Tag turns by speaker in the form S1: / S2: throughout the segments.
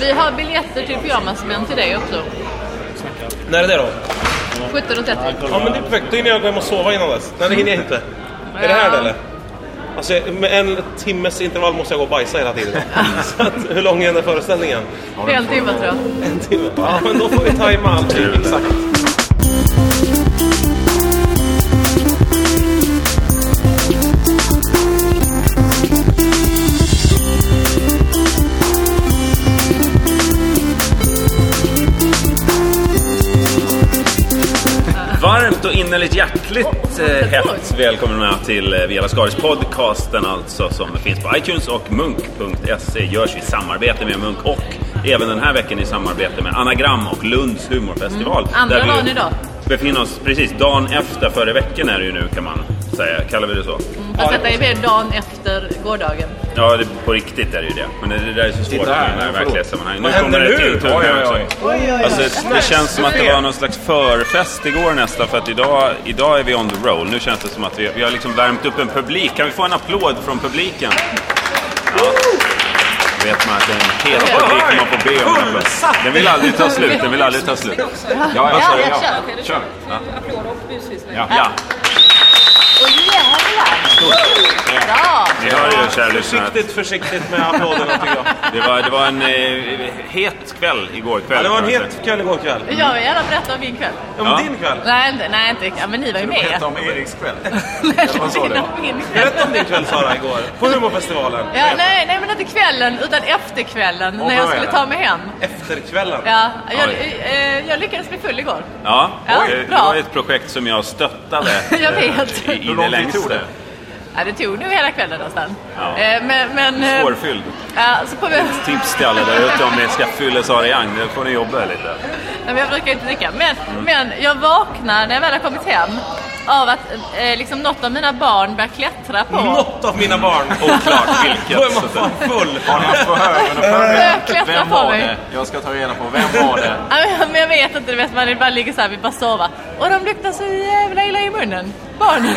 S1: Vi har biljetter till pyjamasmän till dig också.
S2: När är det då?
S1: 17.30.
S2: Ja men det är perfekt, då hinner jag gå hem och sova innan dess. Nej det hinner jag inte. Är det här det eller? Alltså jag- med en timmes intervall måste jag gå och bajsa hela tiden. Så att, hur lång är den där föreställningen?
S1: Det är en timme tror jag.
S2: En timme? Ja men då får vi tajma allting exakt.
S3: Varmt och innerligt hjärtligt eh, hett välkommen med till eh, Vela Skaris podcasten alltså som finns på iTunes och munk.se görs i samarbete med Munk och även den här veckan i samarbete med Anagram och Lunds humorfestival.
S1: Mm, Andra
S3: där vi
S1: dagen idag.
S3: Befinner oss precis dagen efter förra veckan är det ju nu kan man säga. Kallar vi det
S1: Mm.
S3: så?
S1: Fast detta är väl dagen efter gårdagen.
S3: Ja, det, på riktigt är det ju det. Men det, det där är så svårt
S4: Titta här,
S3: med den här
S4: förlåt.
S3: verklighetssammanhang.
S2: Vad händer
S3: kommer det
S2: nu?
S3: till tur
S4: Oj,
S3: här
S4: oj,
S3: också.
S4: oj.
S3: Alltså, det- det känns som att det var någon slags förfest igår nästan för att idag, idag är vi on the roll. Nu känns det som att vi, vi har liksom värmt upp en publik. Kan vi få en applåd från publiken? Ja. Vet man att det är en het publik när man får be om en applåd. Den vill aldrig ta slut, den vill aldrig ta slut.
S4: Ja, ja,
S3: Ja,
S4: ja,
S3: jag
S4: ja.
S5: kör.
S4: Kör.
S3: Ja,
S5: Åh jävlar! Bra!
S3: ni hör ju kära lyssnare. att
S2: Försiktigt, försiktigt med applåderna tycker jag.
S3: Det var, det var en eh, het kväll igår kväll.
S2: Ja, det var en
S3: kan man
S2: het kväll igår kväll.
S1: Jag vill gärna berätta om min kväll.
S2: Om
S3: Ja.
S2: din kväll.
S1: Nej, inte, nej, inte. Ja, men ni var ju med.
S4: Berätta om Eriks kväll. vad sa du?
S1: Berätta om min kväll.
S2: Berätta om din kväll Sara igår. På humorfestivalen.
S1: Ja, nej, nej, men inte kvällen, utan efterkvällen när jag
S4: vad är
S1: skulle
S4: det?
S1: ta mig hem.
S2: Efterkvällen.
S1: Ja, jag,
S3: Oj.
S1: eh, jag lyckades bli full igår.
S3: Ja,
S1: Ja,
S3: eh, det
S1: bra.
S3: var ett projekt som jag stöttade.
S1: Jag vet.
S3: eh, I, i det
S4: Hur lång tid
S3: längsta.
S4: tog det?
S1: Ja, det tog nu hela kvällen nästan.
S3: Ja.
S1: Eh, men, men, eh,
S3: Svårfylld.
S1: ja, så på, nej,
S3: Tips till alla där ute om ni ska fylla Sariang, då får ni jobba lite.
S1: men jag brukar inte dricka. Men, men jag vaknar när jag väl har kommit hem av att eh, liksom något av mina barn börjar klättra på.
S2: Något av mina barn.
S3: Oklart
S2: Då är
S3: vilket.
S2: man fan full.
S4: Har ni haft förhör med någon förhör?
S1: Klättra
S4: Vem
S1: på
S4: var
S1: mig.
S4: det? Jag ska ta reda på, vem var det?
S1: Ja, men- Men jag vet inte, du vet man bara ligger så här, vill bara sova. Och de luktar så jävla illa i munnen, barnen.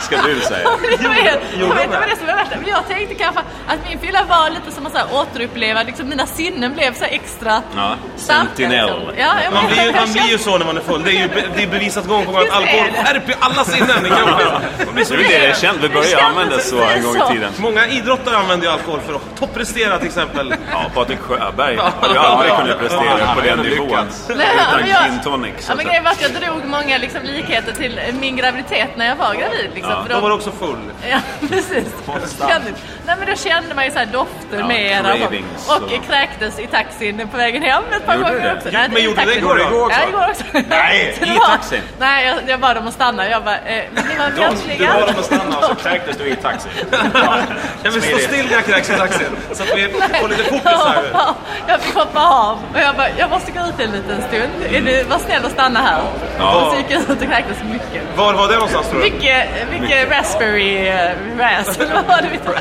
S3: Ska du säga.
S1: jag vet, jag vet inte vad det som är värt det. Men jag tänkte kanske att min fylla var lite som att så här, återuppleva, liksom mina sinnen blev så här extra
S3: Ja,
S1: starka,
S3: sentinell.
S1: liksom. Ja, jag
S2: Man
S1: menar,
S2: blir, ju,
S1: jag
S2: man blir
S1: kände-
S2: ju så när man är full. Det är ju be, det är bevisat gång på gång att
S1: Just det.
S2: alkohol skärper ju alla sinnen i kroppen. Man blir så
S3: Nu är det känt, vi började använda så en gång i tiden.
S2: Många idrottare använder ju alkohol för att topprestera till exempel.
S3: Ja, Patrik Sjöberg hade aldrig kunnat prestera på den nivån.
S1: Nej, ja, men
S3: Utan
S1: jag-
S3: gin tonic.
S1: Ja,
S3: så att
S1: men
S3: säga.
S1: grejen var att jag drog många liksom, likheter till eh, min graviditet när jag var gravid. Liksom,
S3: Ja.
S1: för
S2: Då
S1: då,
S2: var du också full.
S1: ja, precis. Ständigt. Nej, men då kände man ju så här dofter
S3: Ja,
S1: mera.
S3: cravings
S1: Och, och
S3: och-
S1: kräktes i taxin på vägen hem ett par
S3: Gjorde du
S1: gånger
S3: det?
S1: också.
S3: Jo,
S1: Nej,
S2: men
S1: i
S2: gjorde du det
S1: taxin.
S2: igår? Igår
S1: Ja,
S2: också?
S1: igår också.
S3: Nej,
S1: Så det
S3: i
S1: var-
S3: taxin?
S1: Nej, jag, jag bad dem att stanna. Jag bara, eh, men ni var
S3: Du
S1: vänliga.
S3: var dem att stanna och så kräktes du i taxi.
S2: alltså. Jag vill stå
S3: Smidigt.
S2: still när jag kräks i taxin. Så att vi får lite fokus här nu.
S1: Ja, Jag fick hoppa av och jag bara, jag måste gå ut en liten stund. Är du, var snäll och stanna här.
S3: Ja.
S1: Och så gick jag ut och kräktes mycket.
S2: Var var det någonstans tror du?
S1: Mycket, mycket raspberry eh, rasp. Vad var det vi tog?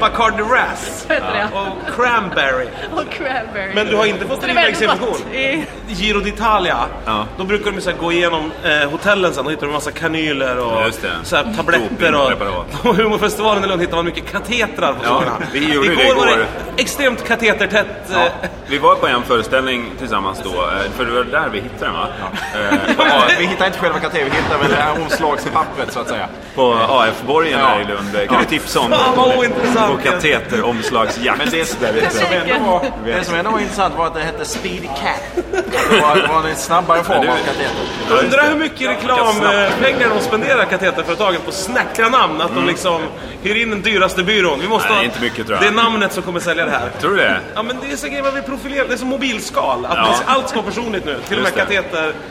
S2: Bacardi Ras.
S1: Vad heter det?
S2: Och Cranberry.
S1: Och cranberry.
S2: Men du har inte fått
S1: Så det var ändå
S2: urinvägsinfektion?
S1: gott i-
S2: Giro d'Italia,
S3: Ja.
S2: då brukar de ju så här gå igenom eh, hotellen sen och hittar en massa kanyler och
S3: Ja, just det.
S2: så här tabletter.
S3: Dopingpreparat.
S2: Och, på humorfestivalen i Lund hittar man mycket katetrar på
S3: Ja,
S2: skorna.
S3: vi gjorde det
S2: var
S3: igår.
S2: det extremt katetertätt. eh,
S3: Ja, vi var på en föreställning tillsammans då, eh, för det var där vi hittade den va? Eh, på A-
S4: Vi hittar inte själva kateter, vi hittar väl det här omslagspappret så att säga.
S3: På AF-borgen här i Lund. Eh, Kan du tipsa om
S2: Fan, vad ointressant.
S3: På kateteromslagsjakt.
S4: Men det, det, som ändå var, det som ändå var intressant var att det hette Speedy Cat. Det var, det var en snabbare form av kateter.
S2: Undrar hur mycket reklampengar de spenderar kateterföretagen på snackra namn. Att de liksom hyr in den dyraste byrån. Vi måste
S3: Mm. Nej,
S2: ha-
S3: inte mycket, tror jag.
S2: Det är namnet som kommer sälja det här.
S3: Tror du det?
S2: Ja men det är så grejer man vill profilera. Det är som mobilskal. Att
S3: Ja.
S2: man- allt ska vara personligt nu. Till och med
S3: Just det.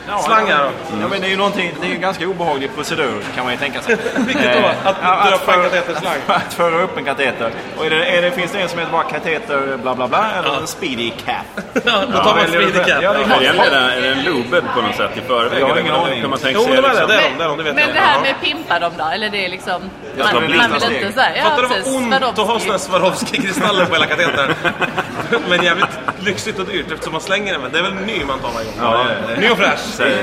S2: kateterslangar.
S4: Mm. Ja, men det är ju någonting, det är ju en ganska obehaglig procedur kan man ju tänka sig. Eh,
S2: Vilket då? Att döpa en kateterslang?
S4: Att, att föra upp en kateter. Och är det, är det, finns det en som heter bara kateter bla bla bla eller en speedy cat?
S2: Då tar man
S4: väljer du
S2: speedy
S4: själv. Ja, det är
S2: cat.
S4: klart.
S3: Är det, en, är det- är det en lube på något sätt i förväg?
S4: Jag har
S3: Eller
S4: ingen aning.
S3: Kan man tänka
S2: Jo,
S3: sig
S2: det var det.
S3: liksom,
S2: Det är de, det är de, det vet
S1: Men
S2: jag.
S1: det här
S2: Ja.
S1: med pimpa dem då? Eller det är liksom...
S4: Jag tar
S1: Man,
S4: blixta
S1: man vill
S4: steg.
S1: inte såhär...
S2: Fattar du vad ont att ha såna här Swarovski-kristaller på hela katetern? men jävligt lyxigt och dyrt eftersom man slänger den. Men det är väl ny man tar varje gång?
S3: Ja, det är det.
S2: Ny och fräsch.
S3: så här,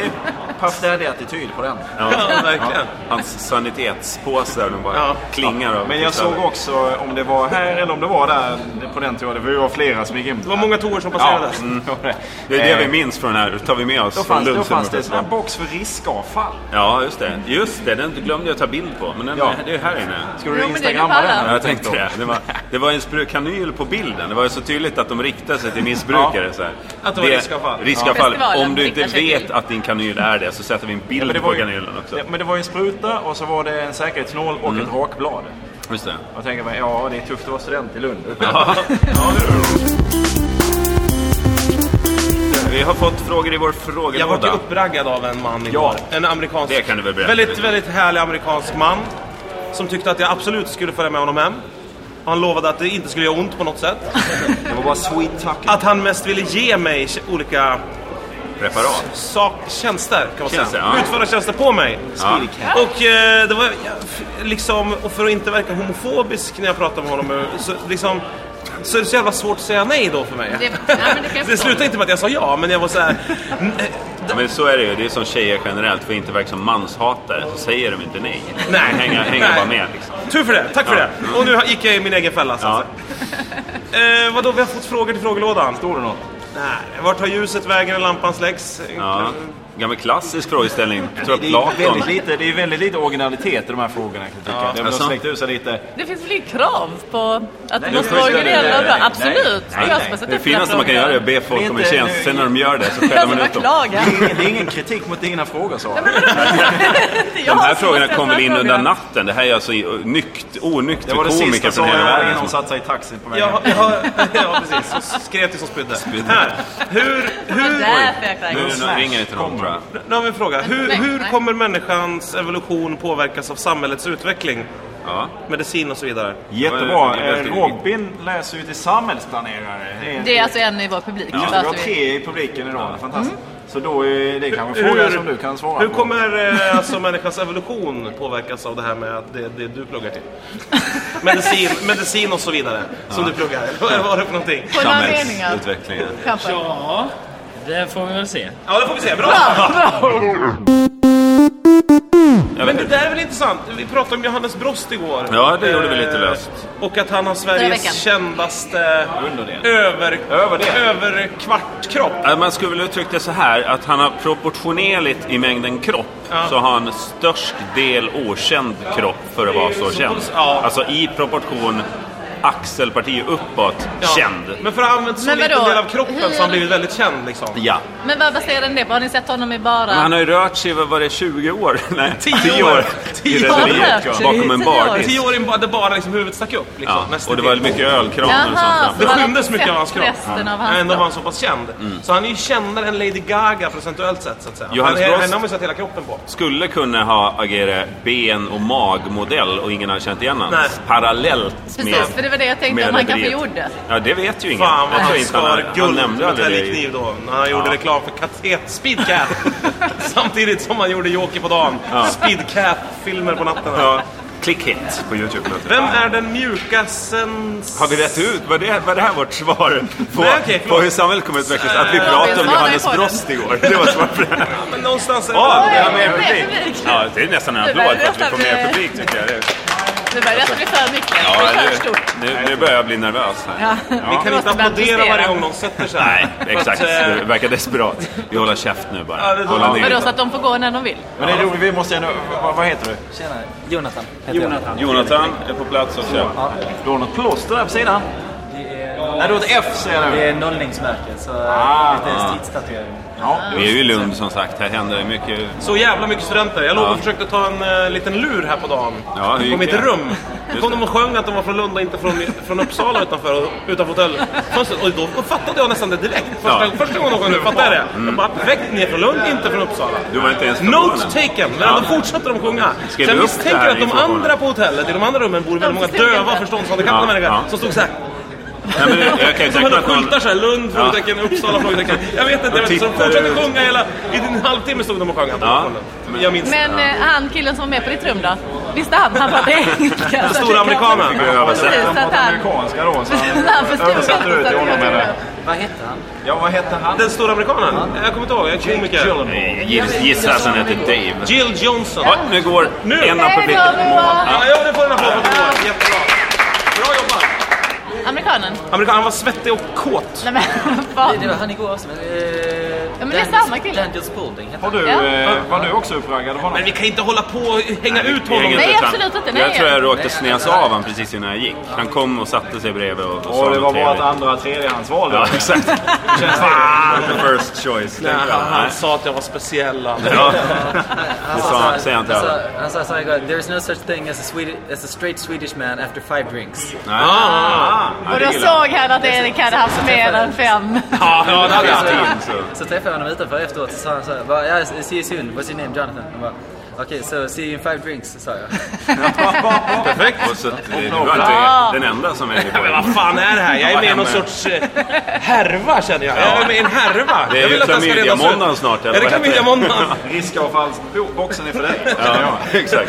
S4: Puff Daddy-attityd på den.
S3: Ja,
S2: verkligen.
S3: Hans sanitetspåse där den bara klingar liksom. av.
S4: Men jag såg
S3: kristaller.
S4: också, om det var här eller om det var där på den turen, det var ju flera som gick in.
S2: Det var många tour som passerade.
S4: Ja, mm.
S3: Det är det vi minns från den här. tar vi med oss
S4: Eh. Då fanns,
S3: från
S4: då
S3: lunchen.
S4: fanns det en sån här box för riskavfall.
S3: Ja, just det. Just det, den glömde jag ta bild på. Men den
S4: Ja.
S3: är, det är här inne.
S4: Ska
S1: Jo,
S4: du
S1: men det är ju
S4: instagramma
S1: pallen.
S4: den?
S3: Ja, jag tänkte det. Det var, det var en spru- kanyl på bilden. Det var ju så tydligt att de riktade sig till missbrukare. Så här.
S2: Att det var riskavfall.
S3: riskavfall.
S1: Festivalen
S3: Om du inte
S1: riktar sig
S3: vet
S1: till-
S3: att din kanyl är det så sätter vi en bild
S4: Men det,
S3: på
S4: var ju,
S3: kanylen också. Mm.
S4: det, men det var ju en spruta och så var det en säkerhetsnål och ett rakblad.
S3: Just det.
S4: Jag tänker mig, ja det är tufft att vara student i Lund.
S3: Vi har fått frågor i vår
S2: Jag var ju
S3: frågelåda.
S2: uppraggad av en man igår. En amerikansk.
S3: det kan du väl berätta
S2: Väldigt,
S3: lite.
S2: väldigt härlig amerikansk man. Som tyckte att jag absolut skulle följa med honom hem. Han lovade att det inte skulle göra ont på något sätt.
S4: Det var bara sweet tucking.
S2: Att han mest ville ge mig olika
S3: Preparat.
S2: sak, tjänster kan man säga.
S3: Tjänster, ja.
S2: Utföra tjänster på mig.
S3: Ja.
S2: Och eh, det var ja, f- liksom, och för att inte verka homofobisk när jag pratade med honom eh, så, liksom, så är det så jävla svårt att säga nej då för mig.
S1: Det, nej, men det kan jag
S2: Det
S1: förstå.
S2: slutade inte med att jag sa ja, men jag var såhär... n- eh,
S3: Ja, men så är det ju. Det är som tjejer generellt. För att inte verka som manshatare så säger de inte nej.
S2: Nej.
S3: De hänger, hänger
S2: Nej.
S3: bara med liksom.
S2: Tur för det, tack för
S3: Ja.
S2: det. Och nu har- gick jag i min egen fälla. Så
S3: Ja.
S2: att säga. eh, vadå, vi har fått frågor till frågelådan.
S4: Står det något?
S2: Nej, vart tar ljuset vägen när lampan släcks?
S3: Ja. Gammal klassisk frågeställning. Jag tror att
S4: Det är, ju
S3: Platon...
S4: väldigt lite, det är ju väldigt lite originalitet i de här frågorna kan jag tycka. Ja, de har
S3: alltså.
S4: slängt ut sig lite.
S1: Det finns väl inget krav på att det
S4: Nej,
S1: måste
S4: det
S1: vara
S4: finns det.
S1: originella och bra?
S4: Nej, nej,
S1: Absolut!
S4: nej,
S1: Det är jag
S4: nej.
S1: som har satt
S3: Det
S1: upp den här
S3: finaste man
S1: frågan.
S3: kan göra är att be folk om en
S4: Inte
S3: tjänst.
S4: nu-
S3: Sen när de gör det så
S1: Jag
S3: skäller
S1: som
S3: man
S1: bara
S3: ut dem.
S1: klagar.
S4: Det är, det är ingen kritik mot dina frågor så.
S3: De här frågorna kom väl in under natten. Det här är alltså i- nykt, onykt
S4: Det var
S3: för
S4: det
S3: Typ komiker
S4: sista
S3: från hela
S4: som jag
S3: världen.
S4: innan hon satte sig i taxin på vägen.
S2: Ja, ja, ja, precis. Så skrev till som spydde. Här. Hur,
S1: Det var
S2: hur,
S1: därför jag
S3: Nu,
S1: klagar.
S3: nu ringer jag till någon tror jag.
S2: Nu har vi en fråga. Hur,
S1: Nej,
S2: hur
S1: nej.
S2: kommer människans evolution påverkas av samhällets hem.
S3: Ja.
S2: Medicin och så vidare.
S4: Jättebra.
S3: Det är väldigt-
S4: Eh, Robin läser ju till samhällsplanerare. Det är-
S1: Det är alltså en i vår publik.
S4: Ja,
S1: så
S4: vi har
S1: att vi-
S4: tre i publiken idag. Fantastiskt. Så då är det kanske en fråga som du kan svara
S2: hur
S4: på.
S2: kommer eh, alltså människans evolution påverkas av det här med att det, det du pluggar till? medicin, medicin och så vidare, som du pluggar. Vad var det för någonting?
S1: På några meningar
S3: Samhällsutvecklingen.
S1: kanske.
S6: Ja, det får vi väl se.
S2: Ja, det får vi se. Bra! Men
S3: Jag vet
S2: det
S3: inte.
S2: där är väl intressant? Vi pratade om Johannes Brost igår.
S3: Ja, det gjorde vi lite
S2: Eh,
S3: löst.
S2: Och att han har
S1: Den här veckan.
S2: Sveriges kändaste
S4: Underdel.
S2: över,
S4: Överdel.
S2: överkvartkropp.
S3: Ja, Man skulle väl uttrycka det så här att han har proportionerligt i mängden kropp så har han störst del okänd kropp för att vara så känd.
S2: Ja.
S3: Alltså i proportion axelparti uppåt
S2: Ja.
S3: känd.
S2: Men för att ha använt så
S1: Men
S2: liten
S1: vadå?
S2: del av kroppen så har han
S1: Hur-
S2: blivit väldigt känd liksom.
S3: Ja.
S1: Men vad baserar den det på? Har ni sett honom i bara...
S3: Men han har ju rört sig, vad var det, 20 år? Nej,
S2: 10
S3: 10
S2: år.
S3: år.
S2: Tio
S3: I
S2: år.
S3: rederiet,
S1: Rört sig.
S3: Bakom en
S1: Tio år.
S3: bardisk.
S2: Tio år in bara- där bara liksom huvudet stack upp. Liksom,
S3: Ja,
S2: nästan
S3: och det var
S2: till.
S3: mycket ölkranar och
S1: Jaha,
S3: sånt
S1: så
S2: Det
S3: framför.
S1: var-
S2: skymdes mycket av hans kropp.
S1: Resten av hans
S2: Ändå var
S1: kropp.
S2: han så pass känd. Så han är ju kändare än Lady Gaga procentuellt sett så att säga.
S3: Johannes
S2: han, är-
S3: Brost-
S2: henne har man ju sett hela kroppen på.
S3: Skulle kunna ha agerat ben och magmodell och ingen har känt igen honom.
S2: Nej.
S3: Parallellt med...
S1: Precis, för det var det jag tänkte
S3: med
S1: om han kanske
S3: rederiet.
S1: gjorde.
S3: Ja, det vet ju ingen.
S2: Fan vad
S3: Jag tror
S2: han
S3: inte han,
S2: skar
S3: han,
S2: guld
S3: nämnde
S2: med
S3: aldrig det. i-
S2: täljkniv då. När han gjorde reklam för katet Speedcat. Samtidigt som han gjorde Joker på dagen. Speedcat-filmer på natten.
S3: Ja, click hit på Youtube.
S2: Vem är den mjuka sens...
S3: Har vi rätt ut? Var det, var det här vårt svar på,
S2: Nej, okej,
S3: på
S2: förlåt. Eh,
S3: hur samhället kommer att utvecklas? Att vi
S1: Ja,
S3: pratade
S1: vi
S3: om
S1: svarade
S3: Johannes
S1: på den.
S3: Brost igår. Det var svaret på det här.
S2: Ja, men någonstans är
S3: Ja,
S2: det...
S3: vi har mer
S1: Oj,
S3: publik.
S1: mer publik.
S3: Ja, det är nästan en
S1: Det
S3: applåd för
S1: börjar
S3: att vi får
S1: nästan
S3: mer
S1: bli-
S3: publik tycker jag. Det-
S1: Nu börjar det bli för mycket. Det
S3: Ja,
S1: är för
S3: nu,
S1: stort.
S3: nu, nu börjar jag bli nervös här.
S2: Vi kan
S1: Måste
S2: inte
S1: man
S2: applådera
S1: justera?
S2: varje gång någon sätter sig.
S3: Nej, exakt.
S2: Så att, eh,
S3: Du verkar desperat. Vi håller käft nu bara.
S2: Ja, det-
S3: Hålla
S1: Vadå,
S3: ner.
S1: så att de får gå när de vill?
S4: Men det är roligt, vi måste ändå... Vad, vad heter du?
S6: Jonathan heter Jonathan.
S3: Jonathan är på plats också.
S4: Du har något plåster där på sidan?
S6: Det
S4: Nej,
S6: är,
S4: du har ett F ser jag
S6: det
S4: nu.
S6: är nollningsmärke, så
S3: Ah.
S6: lite stridstatuering.
S4: Ja.
S3: Vi är ju i Lund som sagt. Här händer det mycket.
S2: Så jävla mycket studenter. Jag lovar,
S3: Ja.
S2: jag försökte ta en eh, liten lur här på dagen.
S3: Ja, hur
S2: på
S3: gick
S2: mitt
S3: det?
S2: rum.
S3: Just
S2: kom
S3: det.
S2: de och sjöng att de var från Lund och inte från, från Uppsala utanför, utanför hotellfönstret. Och då fattade jag nästan det direkt. Första,
S3: Ja. Mm.
S2: första gången någon nu fattade jag det. Jag bara, perfekt, ni är från Lund, inte från Uppsala.
S3: Du var inte ens
S2: Note
S3: förvånad.
S2: taken! Men
S3: Ja.
S2: ändå fortsatte de sjunga.
S3: Skrev
S2: Så jag
S3: du upp det
S2: misstänker
S3: här
S2: att de
S3: informationen?
S2: andra på hotellet, i de andra rummen, bor väldigt många
S1: förstod
S2: döva
S1: inte.
S2: förståndshandikappade
S3: Ja,
S2: människor
S3: ja.
S2: som stod såhär.
S3: Nej, men jag kan ju
S2: Som
S3: tänka mig
S2: hade
S3: att någon...
S2: skyltar såhär, Lund, frågetecken, Uppsala, frågetecken. Jag vet inte, jag vet inte. Så
S3: tittar
S2: fortsatte
S3: ut.
S2: sjunga hela... I en halvtimme stod de och sjöng han på
S3: Ja.
S2: balkongen. Jag minns
S1: Men eh, han killen som var med på ditt rum då? Visste han? Han pratade engelska. Den
S2: Stora amerikanen.
S3: Fick jag översätta.
S1: Precis, så att
S4: pratar
S1: han...
S4: amerikanska då. Så
S1: Han
S4: han
S1: förstod
S4: översatte
S1: inte
S4: ut till
S1: så
S4: honom
S1: mycket.
S4: med det.
S6: Vad hette han?
S4: Ja, vad hette han?
S2: Den stora amerikanen? Jag kommer inte ihåg, jag är komiker.
S3: Nej, giss- Gissar att han heter Dave.
S2: Jill Johnson.
S3: Ja, nu går
S2: Nu.
S3: en applåd till.
S2: Ja, ja, du får en applåd för att du var. Jättebra. Bra jobbat!
S1: Amerikanen?
S2: Amerikanen, han var svettig och kåt.
S1: Nej men vad fan.
S6: Det var han igår också. Men, eh,
S1: men det är
S6: Daniel-
S1: samma kille.
S6: Daniel Spalding hette
S4: Har du,
S1: Ja.
S4: eh, var du också uppraggad av honom?
S2: Men vi kan inte hålla på och hänga ut
S3: Jag hänger
S2: honom.
S1: Nej,
S3: ut han.
S1: absolut inte. Nej.
S3: Jag tror jag råkade sneas av han precis innan jag gick. Han kom och satte sig bredvid och, och sa
S4: Och det
S3: något
S4: var vårt
S3: trevligt.
S4: andra tredjehandsval då.
S3: Ja, exakt. Fan, the first choice.
S2: Nej,
S3: tänkte jag.
S2: han,
S3: Nej.
S2: han sa att jag var speciell.
S3: Ja.
S6: Han
S3: Det sa
S6: sa så här-
S3: han, säger han till
S6: han sa-
S3: alla.
S6: Han sa så här igår, there is no such thing as a, Swedish, as a straight Swedish man after five drinks.
S3: Nej.
S1: Och då såg han att Erik hade haft mer än fem.
S2: Ja, ja, det hade jag.
S3: Så-
S6: Så träffade jag honom utanför efteråt så sa han så här, bara, yeah, see you soon, what's your name, Jonathan? Han bara, okay, so see you in five drinks, sa jag.
S3: Perfekt. Och så, det var inte den enda som hängde
S2: Men vad
S3: på.
S2: fan är det här? Jag är med i någon
S3: Ja, men-
S2: sorts eh, härva känner jag. Jag är med i en härva.
S3: Det är
S2: jag
S3: ju
S2: vill att den ska redas ut.
S3: klamydiamåndagen snart, eller
S2: Är det
S3: vad heter det?
S2: klamydiamåndagen?
S4: Riskavfallsboxen är för dig.
S3: Ja, exakt.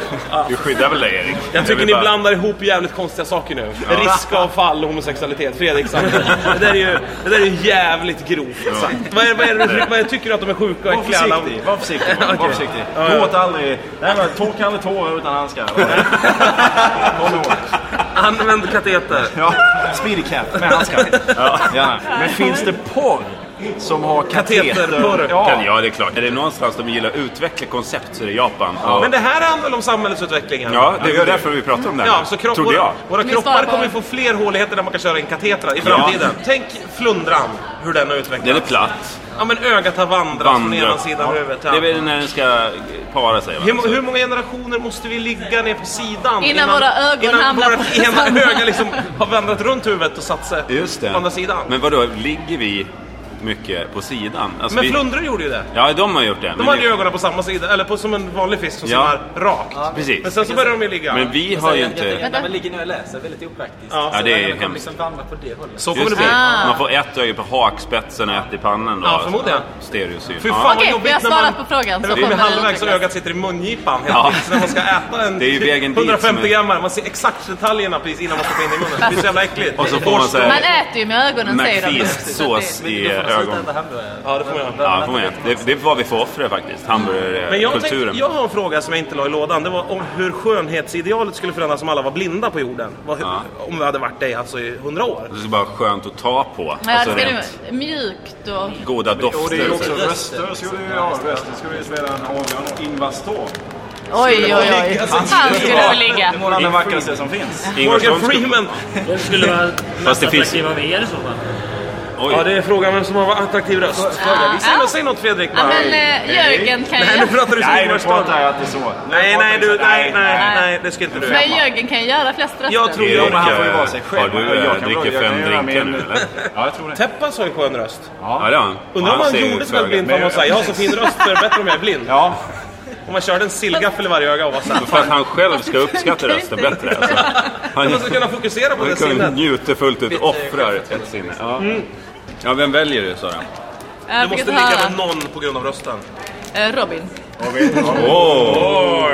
S3: Du skyddar väl dig, Erik?
S2: Jag tycker
S3: vill
S2: ni
S3: bara-
S2: blandar ihop jävligt konstiga saker nu. Riskavfall och homosexualitet. Fredrik, sant? det där är ju det där är ju jävligt grovt. sant? Vad, är, vad, är, det- vad är, tycker du att de är sjuka och
S4: Var
S2: äckliga? alla?
S4: försiktig, var försiktig. Var försiktig. Gråt aldrig. Nej, men torka aldrig tårar utan handskar. Kom ihåg.
S2: Använd kateter.
S4: Ja, speedy cat med handskar. Ja. Men finns det porr som har
S2: Kateterporr.
S4: kateter?
S3: Kan- Ja, det är klart. Är det någonstans de gillar att utveckla koncept så är det Japan. Och-
S2: Men det här handlar väl om samhällsutvecklingen?
S3: Ja, det är ju därför vi pratar om det här.
S2: Ja, så kropp,
S3: Trodde jag.
S2: våra, våra
S1: Vi svarar
S2: kroppar
S1: på-
S2: kommer ju få fler håligheter där man kan köra in katetrar i framtiden. Tänk flundran, hur den har
S3: Den är
S2: utvecklats.
S3: platt.
S2: Ja men ögat har vandrat från
S3: Vandrat.
S2: ena sidan av huvudet.
S3: Det
S2: Ja.
S3: är väl när den ska para sig. Va?
S2: Hur, hur många generationer måste vi ligga ner på sidan?
S1: Innan våra ögon
S2: innan
S1: hamnar
S2: vårt
S1: på
S2: ena
S1: samma.
S2: öga liksom har vandrat runt huvudet och satt sig
S3: Just det.
S2: på andra sidan. Men,
S3: Men vadå, ligger vi mycket på sidan? Alltså, vi-
S2: flundror gjorde ju det.
S3: Ja, de har gjort det.
S2: De
S3: men
S2: hade
S3: vi-
S2: ju ögonen på samma sida, eller på, som en vanlig fisk som
S3: Ja.
S2: simmar rakt. Men
S3: Precis.
S2: sen så började de ju ligga.
S3: Men vi har ju inte...
S6: När man ligger nu och läser, väldigt opraktiskt.
S2: Ja.
S3: Ja,
S6: Så
S3: det är
S6: man kommer
S3: hemskt.
S6: liksom vandra på det hållet.
S2: så kommer det
S3: Just
S2: bli.
S3: det.
S1: Ah.
S3: Man får ett öga på hakspetsen och ett i pannan då.
S2: Ja, förmodligen.
S3: Stereosyn.
S2: Fy
S3: Ja.
S2: fan
S1: Okej,
S2: vad jobbigt
S1: vi har
S2: när
S1: svarat
S2: man-
S1: på frågan,
S2: när
S1: så
S2: man kommer
S1: kommer det
S2: halvvägs och
S1: utvecklas.
S2: ögat sitter i mungipan helt
S3: Ja.
S2: enkelt. Så när man ska äta en
S3: Det är ju vägen dit som är-
S2: 150 grammar, man ser exakt detaljerna precis innan man stoppar in i munnen. Det blir så jävla äckligt.
S3: Och så får man så här-
S1: Man äter ju med ögonen säger de.
S3: McFeast-sås i
S6: Då får man sluta
S3: ögonen.
S6: äta hamburgare.
S2: Ja, det får man göra.
S3: Ja, det får man göra. det, det är vad vi får offra faktiskt.
S2: Men jag, tänkte,
S3: Hamburgerkulturen.
S2: jag har en fråga som jag inte la i lådan. Det var om hur skönhetsidealet skulle förändras om alla var blinda på jorden. Vad,
S3: Ja.
S2: Om vi hade varit det alltså, i hundra år.
S3: Det är bara skönt att ta på.
S1: Ja,
S3: Alltså
S1: det ska
S3: rent
S1: du- Mjukt och...
S3: goda
S4: Och det är ju
S3: dofter.
S4: också röster. Skulle vi, ja, röster skulle vi spela en avgörande. och Ingvar Ståhl.
S1: Oj, oj, oj.
S2: Alltså,
S1: Han skulle väl ligga.
S4: Det var bland det vackraste som finns.
S3: Ingvar
S2: Morgan
S3: Svanskog-
S2: Freeman!
S7: Det skulle vara
S3: Fast
S7: mest
S3: det finns-
S7: attraktiva av er i så fall.
S2: Ja,
S3: Oj.
S2: det är frågan vem som har attraktiv röst. Säg, något, säg något Fredrik.
S1: Ja,
S2: bara.
S1: men eh, Jörgen kan
S2: Nej,
S1: ju...
S2: nu pratar du som
S4: Nej, nu
S2: Ingvar Stahl.
S4: pratar jag att det är så. Nu
S2: Nej,
S4: pratar
S2: nej,
S4: vi så-
S2: du, nej, nej, nej, det ska inte du.
S1: Men Jörgen kan ju göra flest röster.
S2: Jag tror-
S4: Jo, men han får ju vara sig
S3: har
S4: själv.
S3: du
S4: Jag
S3: eh,
S4: kan-
S3: dricker
S4: jag kan
S3: fem
S4: göra
S3: drinkar nu
S4: min-
S3: eller?
S4: Ja, jag tror det.
S2: Teppas har ju skön röst.
S3: Ja, det har han.
S2: Undrar om
S3: Han
S2: han
S3: ser ju
S2: gjorde sig själv
S3: föga-
S2: blind för att man säger jag har så fin röst så är det bättre om jag är blind.
S4: Ja,
S2: Om man körde en sillgaffel i varje öga och var såhär.
S3: Men För att han själv ska uppskatta rösten bättre. Alltså. Han,
S2: Man ska kunna fokusera på
S3: han
S2: det
S3: kan
S2: sinnet.
S3: njuter fullt ut, offrar ett sinne. Ja.
S4: Mm.
S3: ja, vem väljer du Sara?
S2: Du
S1: Jag
S2: måste
S1: måste
S2: ligga
S1: höra.
S2: med någon på grund av rösten.
S1: Eh, Robin.
S3: Åh!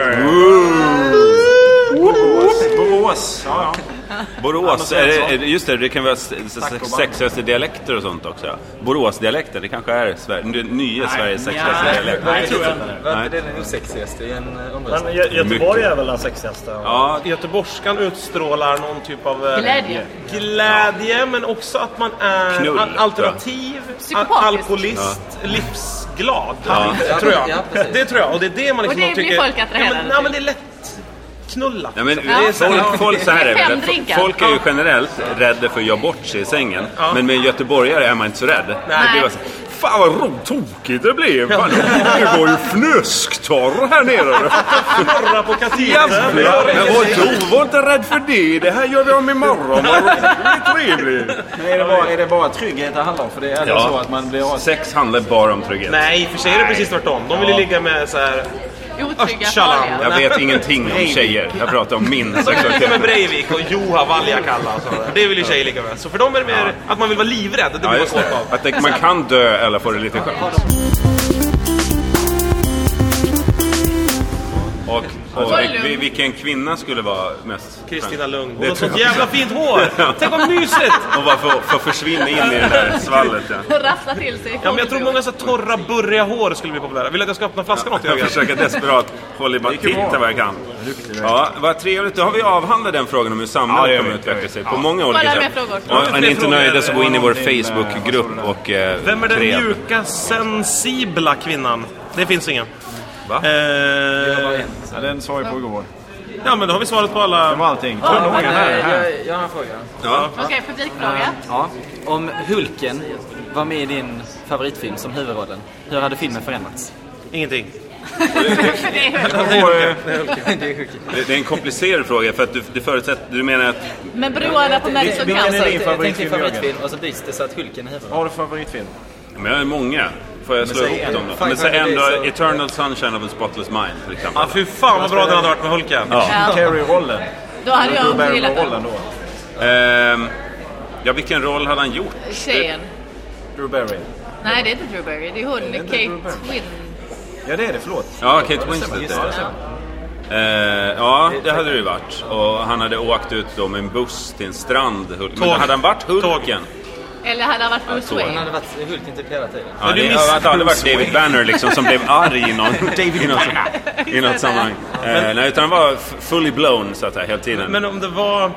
S4: Borås. Ja, ja.
S3: Borås,
S4: Anders
S3: är det,
S4: Svensson.
S3: är det- just det, det kan vara s- s- sexigaste dialekter och sånt också. Boråsdialekten, det kanske är Sverige, den nya Sveriges sexigaste dialekt.
S7: Nej, det tror jag inte.
S6: Varför är det den osexigaste i en eh, omröstning?
S7: Men Gö- Göteborg är väl den sexigaste?
S3: Ja,
S2: Göteborgskan utstrålar någon typ av eh,
S1: Glädje.
S2: glädje, men också att man är
S3: Knull,
S2: al- alternativ, al-
S1: Psykopatisk.
S2: alkoholist, livsglad. Tror jag.
S6: Ja, precis.
S2: det tror jag. Och det är det man liksom
S1: Och det blir
S2: tycker...
S1: folk attraherade
S2: ja, men, ja,
S1: till.
S2: men det är lätt knullat.
S3: Ja, men
S1: Ja.
S3: folk, folk, så här är
S1: Fem
S3: väl,
S1: drinkar.
S3: folk är ju generellt rädda för att göra bort sig i sängen.
S2: Ja.
S3: Men med en göteborgare är man inte så rädd. Det blir bara så, Fan vad ro- tokigt det blev! Fan, det var ju fnösktorr här nere!
S2: Norra på
S3: Jävlar!
S2: katedern.
S3: Men vadå, var inte rädd för det! Det här gör vi om imorgon! Vad roligt, trevligt!
S4: Men är det, bara, är det bara trygghet det handlar om? För det är ja. så att man blir av...
S3: Sex handlar bara om trygghet.
S2: Nej, i och för sig är det precis tvärtom. De vill ju ligga med så här
S1: otrygga,
S2: Örtsalam.
S1: farliga.
S3: Jag vet ingenting om
S2: Breivik.
S3: tjejer. Jag pratar om min
S2: Lite med
S3: sexualitet.
S2: Breivik och Juha Valjakalla och sådär. Det vill ju tjejer ligga med. Så för dem är det mer att man vill vara livrädd. Det blir
S3: Ja,
S2: man
S3: just
S2: kåt
S3: det.
S2: av.
S3: Att det, man kan dö eller få det lite skönt. Och, och vil- vil- vilken kvinna skulle vara mest...
S2: Kristina Lugn. Hon
S3: Det
S2: har
S3: tror
S2: sånt
S3: jag.
S2: jävla fint hår! Tänk vad mysigt!
S3: Hon bara får, får försvinna in i det där svallet. Ja.
S1: Rassla till sig i
S2: Ja, men jag tror
S1: korridor.
S2: många så torra, burriga hår skulle bli populära. Vill du att jag ska öppna flaskan åt dig?
S3: Jag
S2: Jörgen?
S3: försöker desperat hålla bara titta vad jag kan. Ja, vad trevligt. Då har vi avhandlat den frågan om hur
S2: Ja, det
S3: samhället
S2: gör
S3: kommer
S2: vi.
S3: att utveckla sig på många olika
S1: Bara
S3: sätt.
S1: mer frågor.
S3: Ja, Är ni inte
S2: Fler
S3: nöjda
S2: frågor.
S3: så gå in i vår Facebookgrupp och eh,
S2: Vem är den
S3: krev.
S2: mjuka, sensibla kvinnan? Det finns ingen.
S3: Va?
S2: Eh,
S4: Ja, den sa jag på igår.
S2: ja, men då har vi svaret på
S4: Det
S2: alla...
S4: var allting.
S6: Ja, men, eh, jag, jag har en fråga.
S3: Ja.
S1: Okej, publikfråga.
S6: Ja. Om Hulken var med i din favoritfilm som huvudrollen, hur hade filmen förändrats?
S2: Ingenting.
S1: Det är högt.
S3: Det, det är en komplicerad fråga för att du, det förutsätter, du menar att
S1: Men broarna på Madison
S4: vilken är
S1: Cancer.
S4: din
S6: Alltså, Jag tänkte
S4: favoritfilm, Jörgen?
S6: favoritfilm och så byts det så att Hulken är huvudrollen.
S4: Vad har du för favoritfilm?
S3: Men jag är många. Får jag slå
S6: säg
S3: ihop
S6: en.
S3: dem då?
S6: Five
S3: Men säg
S6: Hundred
S3: ändå
S6: Days of-
S3: Eternal Sunshine of a Spotless Mind till exempel.
S2: Ja, fy fan vad bra den hade varit med Hulken.
S1: Ja,
S4: Carrie-rollen.
S1: då hade jag också gillat
S4: Barrymore-rollen
S1: den.
S4: då.
S3: Ehm, ja, vilken roll hade han gjort?
S1: Tjejen.
S4: Drew Barry.
S1: Nej, det är inte Drew Barry. Det är hon, Kate Win.
S4: Ja, det är det. Förlåt.
S3: Ja, Kate Winslet är det. Eh, ja, det hade det ju varit. Och han hade åkt ut då med en buss till en strand. Hulk. Men
S2: Tåg.
S3: hade han varit
S2: Tåg.
S3: Hulken?
S1: Eller hade han varit Bruce
S3: Ja, så.
S6: Han
S1: Wayne?
S6: hade varit Hulken typ hela tiden.
S3: Ja,
S2: du
S3: det,
S2: missade
S3: ja, det hade varit
S2: Bruce
S3: David Banner liksom som blev arg i, någon, i, något, i något sammanhang. Eh, nej, utan han var f- fully blown så att säga hela tiden.
S2: Men om det var...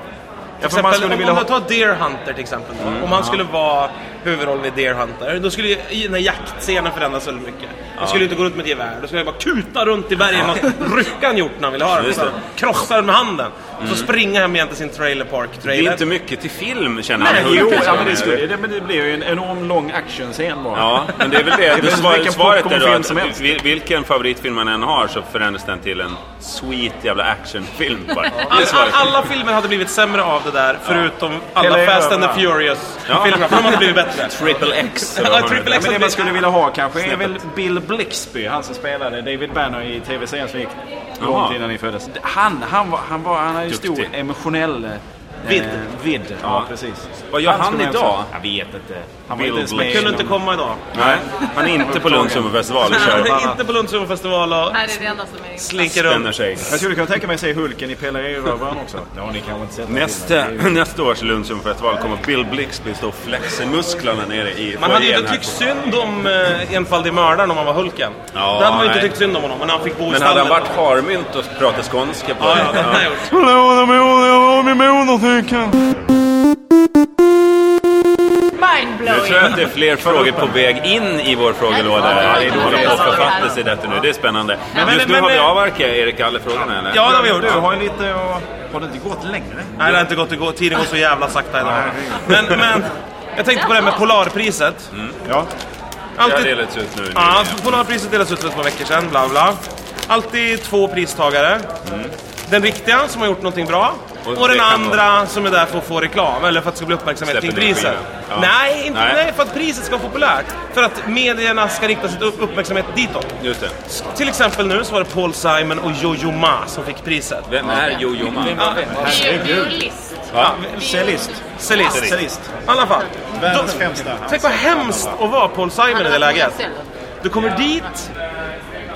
S2: Till
S4: för man
S2: exempel,
S4: skulle
S2: om
S4: vilja
S2: man
S4: ha-
S2: tar Deer Hunter till exempel. då.
S3: Mm,
S2: om han skulle vara huvudrollen i Deer Hunter, då skulle ju den här jaktscenen förändras väldigt mycket. Han skulle ju inte gå runt med ett gevär, då skulle han bara kuta runt i bergen och rycka en hjort när han ville ha den.
S3: Just
S2: Så
S3: det. Mm.
S2: Krossa den med handen. Så springa hem igen till sin trailer park
S3: det
S2: trailer.
S3: är inte mycket till film känner jag. med
S4: Jo,
S3: Hulken,
S4: ja, men
S3: eller?
S4: det, skulle, det, men det blir ju en enorm lång actionscen bara.
S3: Ja, men det är väl det.
S4: väl
S3: det
S4: som
S3: svar,
S4: vilken
S3: svaret är då
S4: popcornfilm som
S3: att
S4: helst.
S3: vil- vilken favoritfilm man än har så förändras den till en sweet jävla actionfilm bara. Det är
S2: All, all,
S3: svaret.
S2: alla filmer hade blivit sämre av det där, förutom alla
S4: Eller
S2: Fast and the
S4: överallt.
S3: Ja.
S2: Furious-filmerna, för de hade blivit bättre.
S3: Triple X. eller
S2: Ja,
S3: vad man
S2: Triple
S3: heter.
S2: X.
S4: Men det man skulle vilja ha kanske är
S3: Snäppet.
S4: väl Bill Blixby, han som spelade David Banner i tv-serien som gick
S3: Jaha.
S4: långt innan ni föddes. Han, han, var, han, var, han hade ju stor
S3: Duktig.
S4: emotionell eh,
S2: Vidd.
S4: vidd. Ja.
S3: Ja.
S4: precis.
S3: Vad gör han
S4: skulle jag
S3: idag?
S4: säga. Jag vet inte. Han var
S3: Bill
S4: inte ens med
S3: Blixby.
S4: i
S2: Kunde inte
S4: någon-
S2: komma idag.
S3: Nej, han är inte på Lunds humorfestival och
S2: Han
S3: kör
S2: är inte på Lunds humorfestival och
S1: Nej, det är det enda som är
S2: slinker runt.
S3: spänner sig.
S4: Jag skulle kunna tänka mig att se Hulken i Pelle Rövarbrön också. Ja, ni kanske inte sett den
S3: Nästa,
S4: filmen. Det är ju-
S3: nästa års Lunds humorfestival kommer Bill Blixby stå och flexa musklerna nere i
S2: Man hade ju
S3: foajén
S2: inte
S3: här.
S2: tyckt synd om eh, enfaldig mördaren om han var Hulken.
S3: Ja,
S2: det hade man ju inte
S3: nej.
S2: tyckt synd om honom, men han fick bo i
S3: Men hade han varit harmynt och pratat skånska på
S2: Ja, ja, det
S3: Ja.
S2: hade han gjort.
S3: Nu tror jag
S1: mindblowing.
S3: att det är fler frågor på väg in i vår
S1: Ja,
S3: frågelåda. Ja,
S1: det
S3: det
S1: är
S3: är
S1: dåligt.
S3: dåligt. Och författa sig detta nu. Det är spännande.
S2: men-
S3: Just nu
S2: men-
S3: har vi
S2: men-
S3: avverkat Erik Alle-frågorna eller?
S2: Ja, det har vi gjort.
S4: Du har ju lite och... Har det inte gått längre?
S2: Nej, det har inte gått att gå. Tiden går så jävla sakta idag. Men, men jag tänkte på det här med Polarpriset.
S3: Mm.
S4: Ja.
S3: Det har
S2: Alltid
S3: delats ut nu.
S2: Ja, Polarpriset delades ut för ett par veckor sedan, bla bla. Alltid två pristagare. Den riktiga som har gjort någonting bra och,
S3: Mm. Och
S2: den
S3: det kan
S2: andra som är där för att få reklam eller för att det ska bli uppmärksamhet
S3: Släpper
S2: kring
S3: ner
S2: priset.
S3: skivan. Ja.
S2: Nej, inte, nej.
S3: Nej.
S2: för att priset ska vara populärt. För att medierna ska rikta sin upp- uppmärksamhet ditåt.
S3: Just det.
S2: S- Till exempel nu så var det Paul Simon och Jojo Ma som fick priset.
S3: Vem är Jojo Ma?
S1: Violist.
S3: Ja.
S4: Cellist.
S2: Cellist. I
S4: Cellist.
S2: alla fall.
S4: Världens
S2: Då-
S4: främsta.
S2: Tänk vad hemskt att vara Paul Simon i det läget.
S1: Han har-
S2: Du kommer dit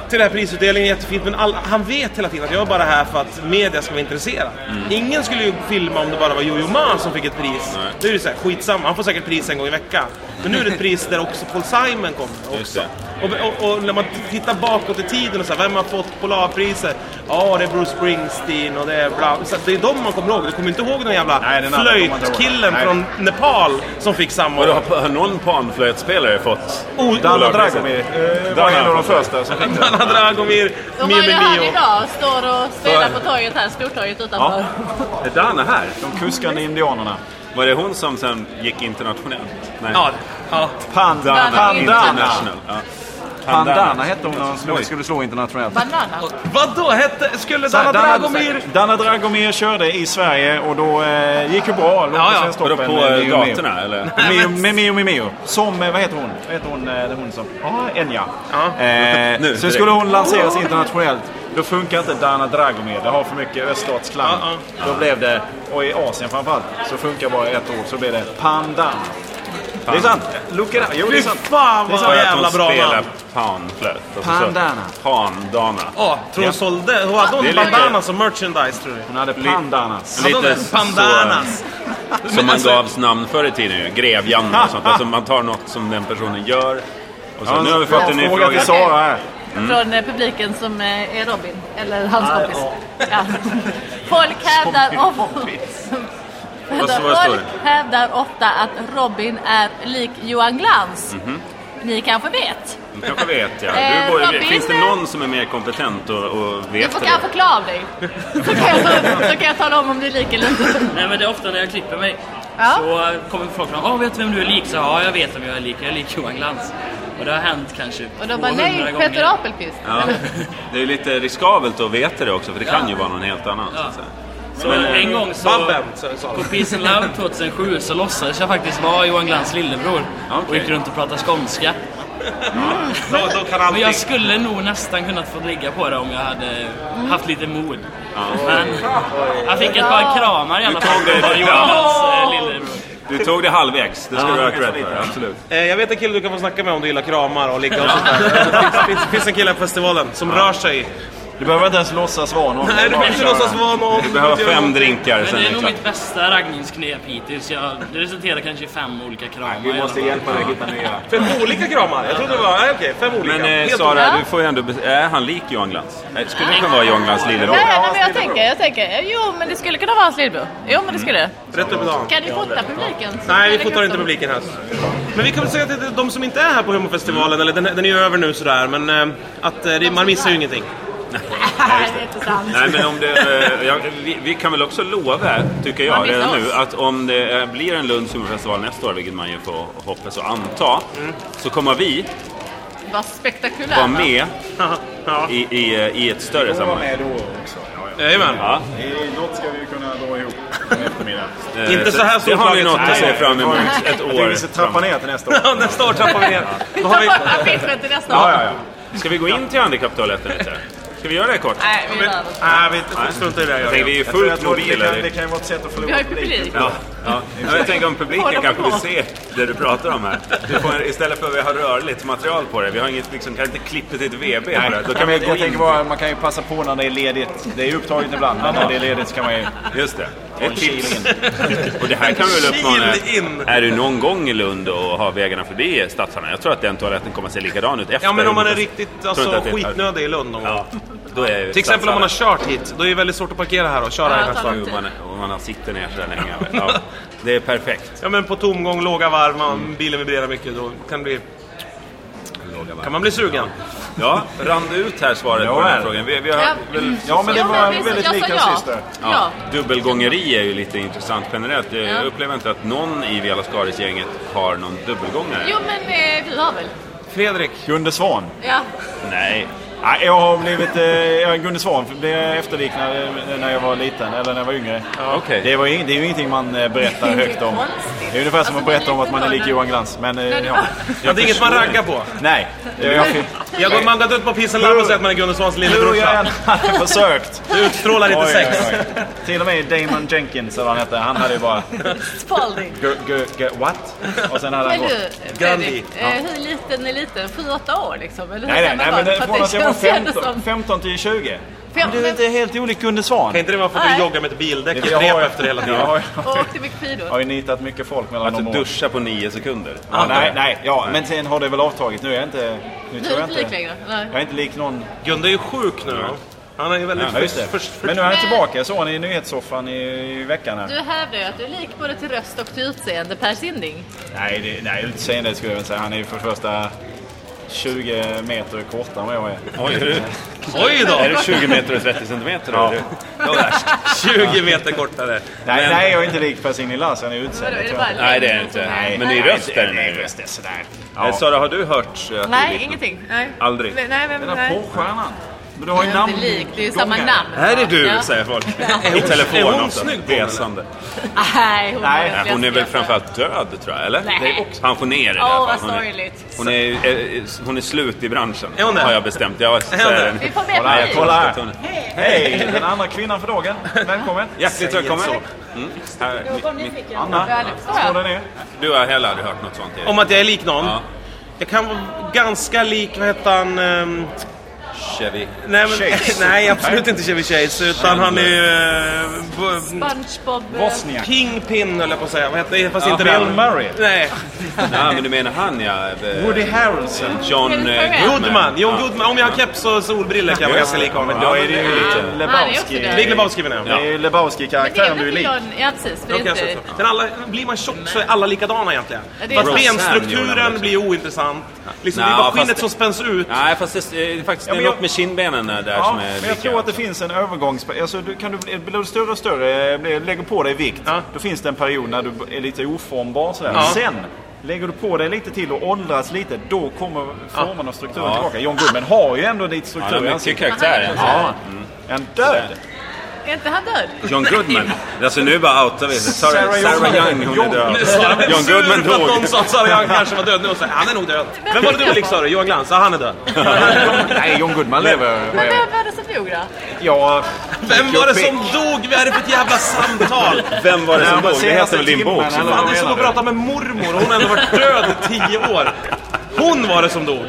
S2: till den här prisutdelningen, jättefint, men all, han vet hela tiden att jag är bara här för att media ska vara intresserad.
S4: Mm.
S2: Ingen skulle ju filma om det bara var Jojo Ma som fick ett pris.
S3: Nej.
S2: Nu är det så här, skitsamma, han får säkert pris en gång i veckan. Men nu är det ett pris där också Paul Simon kommer.
S3: Just
S2: Också.
S3: det.
S2: Och, och, och när man tittar bakåt i tiden och så här, vem har fått Polarpriset? Ja, det är Bruce Springsteen och det är bla. Så att det är de man kommer ihåg. Du kommer inte ihåg den jävla
S4: Nej, den andra kommer man inte ihåg.
S2: flöjtkillen
S4: Nej.
S2: från Nepal som fick samma
S3: Vadå, har, har någon panflöjtspelare fått?
S2: Oh,
S4: Danna
S3: Polarpriset.
S4: Dragomir eh, var
S3: Danna.
S4: en av de Alltså, första som fick
S2: Danna Dragomir,
S1: De har ju han
S2: Mimimio.
S1: idag, står och spelar på torget här, Stortorget utanför.
S3: Ja. Är Dana här?
S4: De kuskande indianerna.
S3: Var det hon som sen gick internationellt? Nej.
S2: Ja, ja.
S4: Panda.
S3: Dana
S1: Panda.
S3: International. Ja.
S4: Pandana hette hon när hon slog, skulle slå internationellt.
S1: Banana.
S2: Vadå? Hette, skulle
S4: Så här,
S2: Dana Dragomir...
S4: Dana Dragomir körde i Sverige och då eh, gick ju bra. Låg
S2: Ja, ja.
S4: på Svensktoppen,
S3: Vadå, på
S4: eh,
S3: eh,
S4: Mio
S3: gatorna eller?
S4: Mio. Mio, med Mio med Mio. Som, eh, vad heter hon? Vad heter hon, eh, det är hon som... Ja, Enya.
S2: Ja.
S4: Eh,
S3: Nu,
S4: så skulle hon lanseras internationellt. Då funkar inte Dana Dragomir. Det har för mycket öststatsklang.
S2: Ja,
S4: Då blev det, och i Asien framförallt, så funkar bara ett ord. Så blev det Pandan. Det är sant. Look it up. Jo, det
S2: Fy
S4: är sant.
S2: fan
S4: Det är
S2: vad
S4: så att
S2: jävla bra namn!
S3: panflöjt. Alltså,
S4: Pandana.
S3: så- Pandana.
S2: Ja, tror hon
S4: Ja.
S2: sålde... Hon hade
S3: Det
S2: hon
S3: är lite-
S2: bandana som merchandise tror jag.
S4: Hon hade Pandanas.
S2: Hade hon
S3: Lite
S2: en bandanas?
S3: så- Som man gavs namn förr i tiden ju. Grevjan och sånt. Alltså man tar något som den personen gör. Och så,
S4: Ja,
S3: nu har vi fått en ny
S4: fråga till
S3: fråga.
S4: Sara här.
S3: mm.
S1: Från eh, publiken som eh, är Robin, eller hans kompis. Ja. Folk hävdar ofta...
S3: Vad- vad står
S1: Folk hävdar ofta att Robin är lik Johan Glans.
S3: Mhm.
S1: Ni kanske vet?
S3: Du kanske vet ja.
S1: Eh,
S3: Du borde,
S1: Robin,
S3: finns det
S1: eh,
S3: någon som är mer kompetent och, och
S1: Du
S3: vet
S1: får
S3: det?
S1: kanske förklara av dig. Så kan, jag, ta- så kan jag tala om om du är lik eller inte.
S7: Nej men det är ofta när jag klipper mig
S1: Ja.
S7: så kommer folk fram. Ja, vet du vem du är lik? Så ja, jag vet vem jag är lik. Jag är lik Johan Glans. Och det har hänt kanske
S1: Och de bara, nej,
S7: gånger.
S1: Peter Apelqvist.
S3: Ja. Det är ju lite riskabelt att veta det också för det kan ju vara någon helt annan.
S7: Ja.
S3: Så.
S7: Så en gång så...
S2: Babben, så sa de.
S7: På Peace and Love 2007 så låtsades jag faktiskt vara Johan Glans lillebror och gick runt och pratade skånska.
S2: Då, då kan
S7: Men
S2: allting...
S7: jag skulle nog nästan kunnat få ligga på det om jag hade haft lite mod. Men jag fick ett par kramar i alla
S3: Du
S7: fall.
S3: tog det-
S7: av Johan Glans eh, lillebror.
S3: Du tog det halvvägs, det ska du ha cred för. Absolut.
S2: Eh, jag vet en kille du kan få snacka med om du gillar kramar och ligga och sånt där. finns, finns en kille på festivalen som rör sig.
S4: Du behöver inte ens låtsas vara någon.
S2: Nej, du behöver inte låtsas vara någon.
S3: Du behöver fem drinkar
S7: Men
S3: sen liksom.
S7: det
S3: det
S7: är
S3: är
S7: nog
S3: klart.
S7: mitt bästa raggningsknep hittills. Jag, det resulterar kanske i fem olika kramar. i alla fall.
S4: hjälpa dig att hitta nya.
S2: Fem olika kramar? Jag trodde det var... Nej, okej. Fem olika.
S3: Men eh,
S2: Helt
S3: Sara, du får ju ändå... be- Är han lik Johan Glans? Eh, Skulle det kunna vara Johan Glans lillebror?
S1: Nej, nej, men jag tänker, jag tänker, eh, jo men det skulle kunna vara hans lillebror. Jo
S3: Mm.
S1: men det skulle det.
S2: Rätt upp i dagen.
S1: Kan ni fota publiken? Så kan
S2: Nej,
S1: jag
S2: vi
S1: lägga
S2: fotar
S1: upp
S2: inte
S1: dem.
S2: publiken här. Men vi kan väl säga till de som inte är här på Humorfestivalen, eller den, den är ju över nu sådär, men eh, att eh, det- man missar ju ingenting.
S1: Nej, det är inte sant.
S3: Nej men om det, eh, ja, vi, vi kan väl också lova, tycker
S1: Man
S3: jag
S1: missar
S3: redan nu,
S1: oss.
S3: att om det eh, blir en Lunds humorfestival nästa år, vilket man ju får hoppas och anta,
S2: Mm.
S3: så kommer vi
S1: Vad spektakulärt.
S3: vara med
S2: Ja.
S3: i, i, eh, i ett större sammanhang.
S4: då också. Ja, ja.
S2: Jajamän.
S3: Ja,
S4: Något ska vi ju kunna dra ihop en eftermiddag.
S3: eh,
S2: Inte så här
S3: Det har vi
S2: storslaget.
S3: något att se
S2: Nej.
S3: fram emot ett
S4: Jag tänkte vi
S3: år.
S4: ska trappa ner till nästa år.
S2: Ja, Nästa år trappar vi ner.
S1: Vi
S2: Då har
S1: tar
S2: vi...
S1: bort affischen till nästa
S4: Ja,
S1: år.
S4: ja, ja.
S3: Ska vi gå in till handikapptoaletten lite? Ska vi göra det kort?
S1: Nej, vi gör det.
S2: Nej, vi struntar i det.
S3: Jag
S2: jag
S3: tänker,
S2: gör.
S3: vi är ju
S4: Jag tror att
S3: fullt
S4: vårt- det,
S3: mobila.
S4: kan, det
S3: det-
S4: kan ju vara ett sätt att förlora
S1: Vi har ju publik.
S3: Ja, ja. Ja, Jag tänker om
S1: Hålla
S3: publiken
S1: på.
S3: kanske vill se det du pratar om här. Du får, istället för att vi har rörligt material på det. Vi har inget, liksom, kan inte klippa till ett VB på det. Då kan vi
S4: jag,
S3: gå
S4: jag tänker
S3: in.
S4: bara, man kan ju passa på när det är ledigt. Det är ju upptaget ibland, men när det är ledigt så kan man ju...
S3: Just det.
S4: en
S3: Ett tips.
S4: kil
S3: Och det här kan vi väl
S2: Kil in.
S3: uppmana. Är du någon gång i Lund och har vägarna förbi Stadshallen? Jag tror att den toaletten kommer att se likadan ut efter.
S2: Ja, men om man är
S3: Tror
S2: riktigt
S3: inte
S2: alltså,
S3: att det är-
S2: skitnödig i Lund någon gång.
S3: Ja, då är ju
S2: Till exempel om man har
S3: Stadshallen.
S2: kört hit, då är det väldigt svårt att parkera här och köra i den här
S1: Ja,
S2: stan.
S3: Jo, Alltså, man, och man har sitter ner så där länge. Ja, det är perfekt.
S2: Ja men på tomgång, låga varv, man, bilen vibrerar mycket, då kan, det bli, kan man bli sugen.
S3: Ja, rann du ut här svaret på den här frågan? Vi, vi har
S1: Ja.
S3: väl
S4: Ja, men det
S1: Jo,
S4: var
S1: visst,
S4: väldigt
S1: jag sa
S4: lika
S1: ja.
S4: sist där.
S1: Ja.
S3: Dubbelgångeri är ju lite intressant generellt. Jag upplever inte att någon i Viala Skaris-gänget har någon dubbelgångare.
S1: Jo men eh, du har väl?
S2: Fredrik,
S4: Gunde Svan.
S1: Ja.
S3: Nej.
S4: Nej, jag har blivit... Eh, jag, Gunde Svan blev efterliknad eh, när jag var liten, eller när jag var yngre.
S3: Okej.
S4: Det, var, ing- det är ju ingenting man eh, berättar
S1: Det är
S4: högt om.
S1: konstigt.
S4: Det är ungefär som
S1: Alltså,
S4: att berätta om att man är lik
S1: när-
S4: Johan Glans. Men, eh,
S1: det
S4: ja.
S1: var-
S2: ja, det är inget man raggar på.
S4: Nej. Jag fick,
S2: Jag går, man har gått ut på Peace and Love och säger att man är Gunde Svans
S4: hur jag än
S2: lillebrorsa.
S4: hade försökt.
S2: Du utstrålar lite sex.
S4: Till och med Damon Jenkins, eller vad han hette, han hade ju bara...
S1: Spalding.
S4: G- g- g- what? Och sen hade han
S1: Men
S4: gått.
S1: du,
S2: Gandhi.
S1: Fredrik, eh, hur liten är liten? 7-8 år liksom? Eller hur
S4: Nej, nej,
S1: gammal
S4: nej
S1: var
S4: men
S1: du?
S4: det
S1: För
S4: från att jag var
S1: känns ändå
S4: 15,
S1: som-
S4: 15 till 20. Men
S1: Fem-
S4: du är inte helt olik Gunde Svan.
S2: Kan inte det vara för att
S1: Nej.
S2: du joggar med ett bildäck och
S4: Jag har-
S2: rep efter hela tiden?
S4: Jag har-
S1: Och åkte mycket
S4: jag
S1: skidor.
S4: har ju nitat mycket folk mellan
S3: Att
S4: de
S3: du
S4: åren.
S3: duschar på nio sekunder.
S4: Ja, nej, nej, ja, men sen har det väl avtagit. Nu är jag inte... Nu
S1: Du
S4: tror
S1: är
S4: jag
S1: inte lik
S4: inte...
S1: längre? Nej.
S4: Jag är inte lik någon...
S2: Gunde är ju sjuk nu. va? Han är ju väldigt...
S4: Ja, just
S2: först-
S4: det.
S2: först- först-
S4: Men nu är han tillbaka. Jag såg honom i nyhetssoffan i, i veckan här.
S1: Du hävdar ju att du är lik både till röst och till utseende Per Sinding.
S4: Nej, det, nej utseende skulle jag väl säga. Han är ju för det första... 20 meter kortare än vad jag är.
S3: Oj, är du,
S2: Oj då!
S3: är du 20 meter och 30 centimeter? då?
S4: Ja.
S3: Det det var värst.
S2: 20 meter kortare.
S4: Nej,
S3: Men-
S4: nej jag är inte lik Per-Signe Lass. Han är utsedd.
S1: Vadå,
S4: det
S1: är det
S4: tror jag.
S1: bara
S3: Nej, det är det inte.
S4: Nej.
S3: Men i rösten
S4: Nej,
S3: är
S4: det
S3: det.
S4: är sådär.
S3: Eh, Sara, har du hört? eh, att det är
S1: Nej,
S3: ditt-
S1: ingenting. Nej.
S3: Aldrig.
S1: Nej, nej, vem,
S4: Den där
S1: nej.
S4: porrstjärnan. Men du har ju
S1: Det är
S4: namn...
S1: inte lik, det är ju samma namn.
S3: Här är du,
S1: Ja.
S3: säger folk.
S2: hon-
S3: I telefon
S2: är hon
S3: också.
S2: snygg, hon,
S3: Resande.
S1: Nej, hon,
S4: Nej,
S1: var
S3: Nej, hon är väl
S1: läskigast.
S3: framförallt död, tror jag. Eller?
S1: Nej.
S3: Det är också- Pensionerad i alla
S1: Åh,
S3: fall.
S1: vad
S3: Hon är-
S1: sorgligt.
S3: Hon är, eh, eh, hon är slut i branschen,
S2: Är hon det?
S3: har jag bestämt. Jag
S2: hon
S3: säger
S2: det?
S3: det.
S1: Vi får med
S4: Kolla,
S1: Marie.
S4: kolla. här.
S3: Hon är-
S4: Hej! Den andra kvinnan för dagen. Välkommen.
S3: Hjärtligt välkommen. Mm. Här,
S5: Kom nu fick jag.
S4: Anna,
S1: Ja, nu förstår
S4: slå
S1: jag.
S4: dig ner.
S3: Du har heller aldrig hört något sånt tidigare.
S2: Om att jag är lik någon.
S3: Ja.
S2: Jag kan vara ganska lik, vad hette han? ehm,
S3: Chevy.
S2: nej, men,
S4: Chase.
S2: nej, absolut inte Chevy Chase. Utan han är ju... eh, bo-
S1: SpongeBob. eh,
S4: Bosniak.
S2: Kingpin höll jag på att säga. Vad hette det? Fast
S4: Ja,
S2: inte
S4: Bill
S2: det.
S4: Murray.
S2: Nej.
S3: Nej, men du menar han ja. eh,
S4: Woody Harrelson.
S3: John
S1: Kan du
S3: eh,
S1: sjunga?
S2: Goodman. John
S3: Ja.
S2: Goodman. Om jag har keps och solbrillor kan jag vara ganska lik honom.
S4: Då är det ju lite
S1: Han är också
S4: Lebowski.
S1: död.
S2: Big Lebowski menar jag.
S4: Det är ju
S1: Men det är
S4: Lebowski-karaktären
S1: väl
S4: du är
S1: inte
S4: lik.
S1: John... Ja, precis. För
S2: Då kan jag
S1: det är
S2: säga
S1: inte...
S2: så. Men alla, blir man tjock så är alla likadana egentligen.
S1: Ja, det är
S2: För att
S1: sant.
S2: benstrukturen blir ointressant. Liksom, det är
S3: Ja,
S2: bara
S3: fast
S2: skinnet
S3: det-
S2: som spänns ut.
S3: Nej, fast det, det, är faktiskt, det
S4: men
S3: är
S4: jag-
S3: något med kindbenen där där
S4: Ja,
S3: som är
S4: men jag tror att det finns en övergångs... Alltså, du, kan du, bli- blir du större och större, eh, blir- lägger på dig vikt,
S2: Ja.
S4: då finns det en period när du är lite oformbar. Sådär.
S2: Ja.
S4: Sen lägger du på dig lite till och åldras lite, då kommer formen och strukturen tillbaka. John Goodman har ju ändå lite
S3: Ja, det
S4: struktur i
S3: är mycket Mm.
S4: ansiktet.
S3: karaktär.
S4: Ja, en död.
S1: Är inte han död?
S3: John Goodman. Alltså nu bara outar vi. Sarah,
S4: Sarah
S3: Sarah
S4: Young.
S3: Young, hon är
S4: Young.
S3: död.
S2: Men Sara blev
S3: John
S2: sur
S3: Goodman
S2: för att
S3: dog.
S2: någon sa att Sara Young kanske var död. Nu och sa han är nog död. Vem var det du var lik sa du? Johan Glans? Ja, han är död.
S4: Nej, John Goodman lever.
S1: Men vem var det som dog då?
S4: Ja,
S2: Vem var det som dog? Vad är det för ett jävla samtal?
S3: Vem var det
S4: Nej,
S3: som
S4: men
S3: dog? Det
S4: senaste
S3: heter väl din
S4: timmen,
S3: bok?
S4: eller vad
S2: Fan, det är som
S4: menar
S2: att
S4: du?
S2: prata med mormor. Hon har ändå varit död i tio år. Hon var det som dog.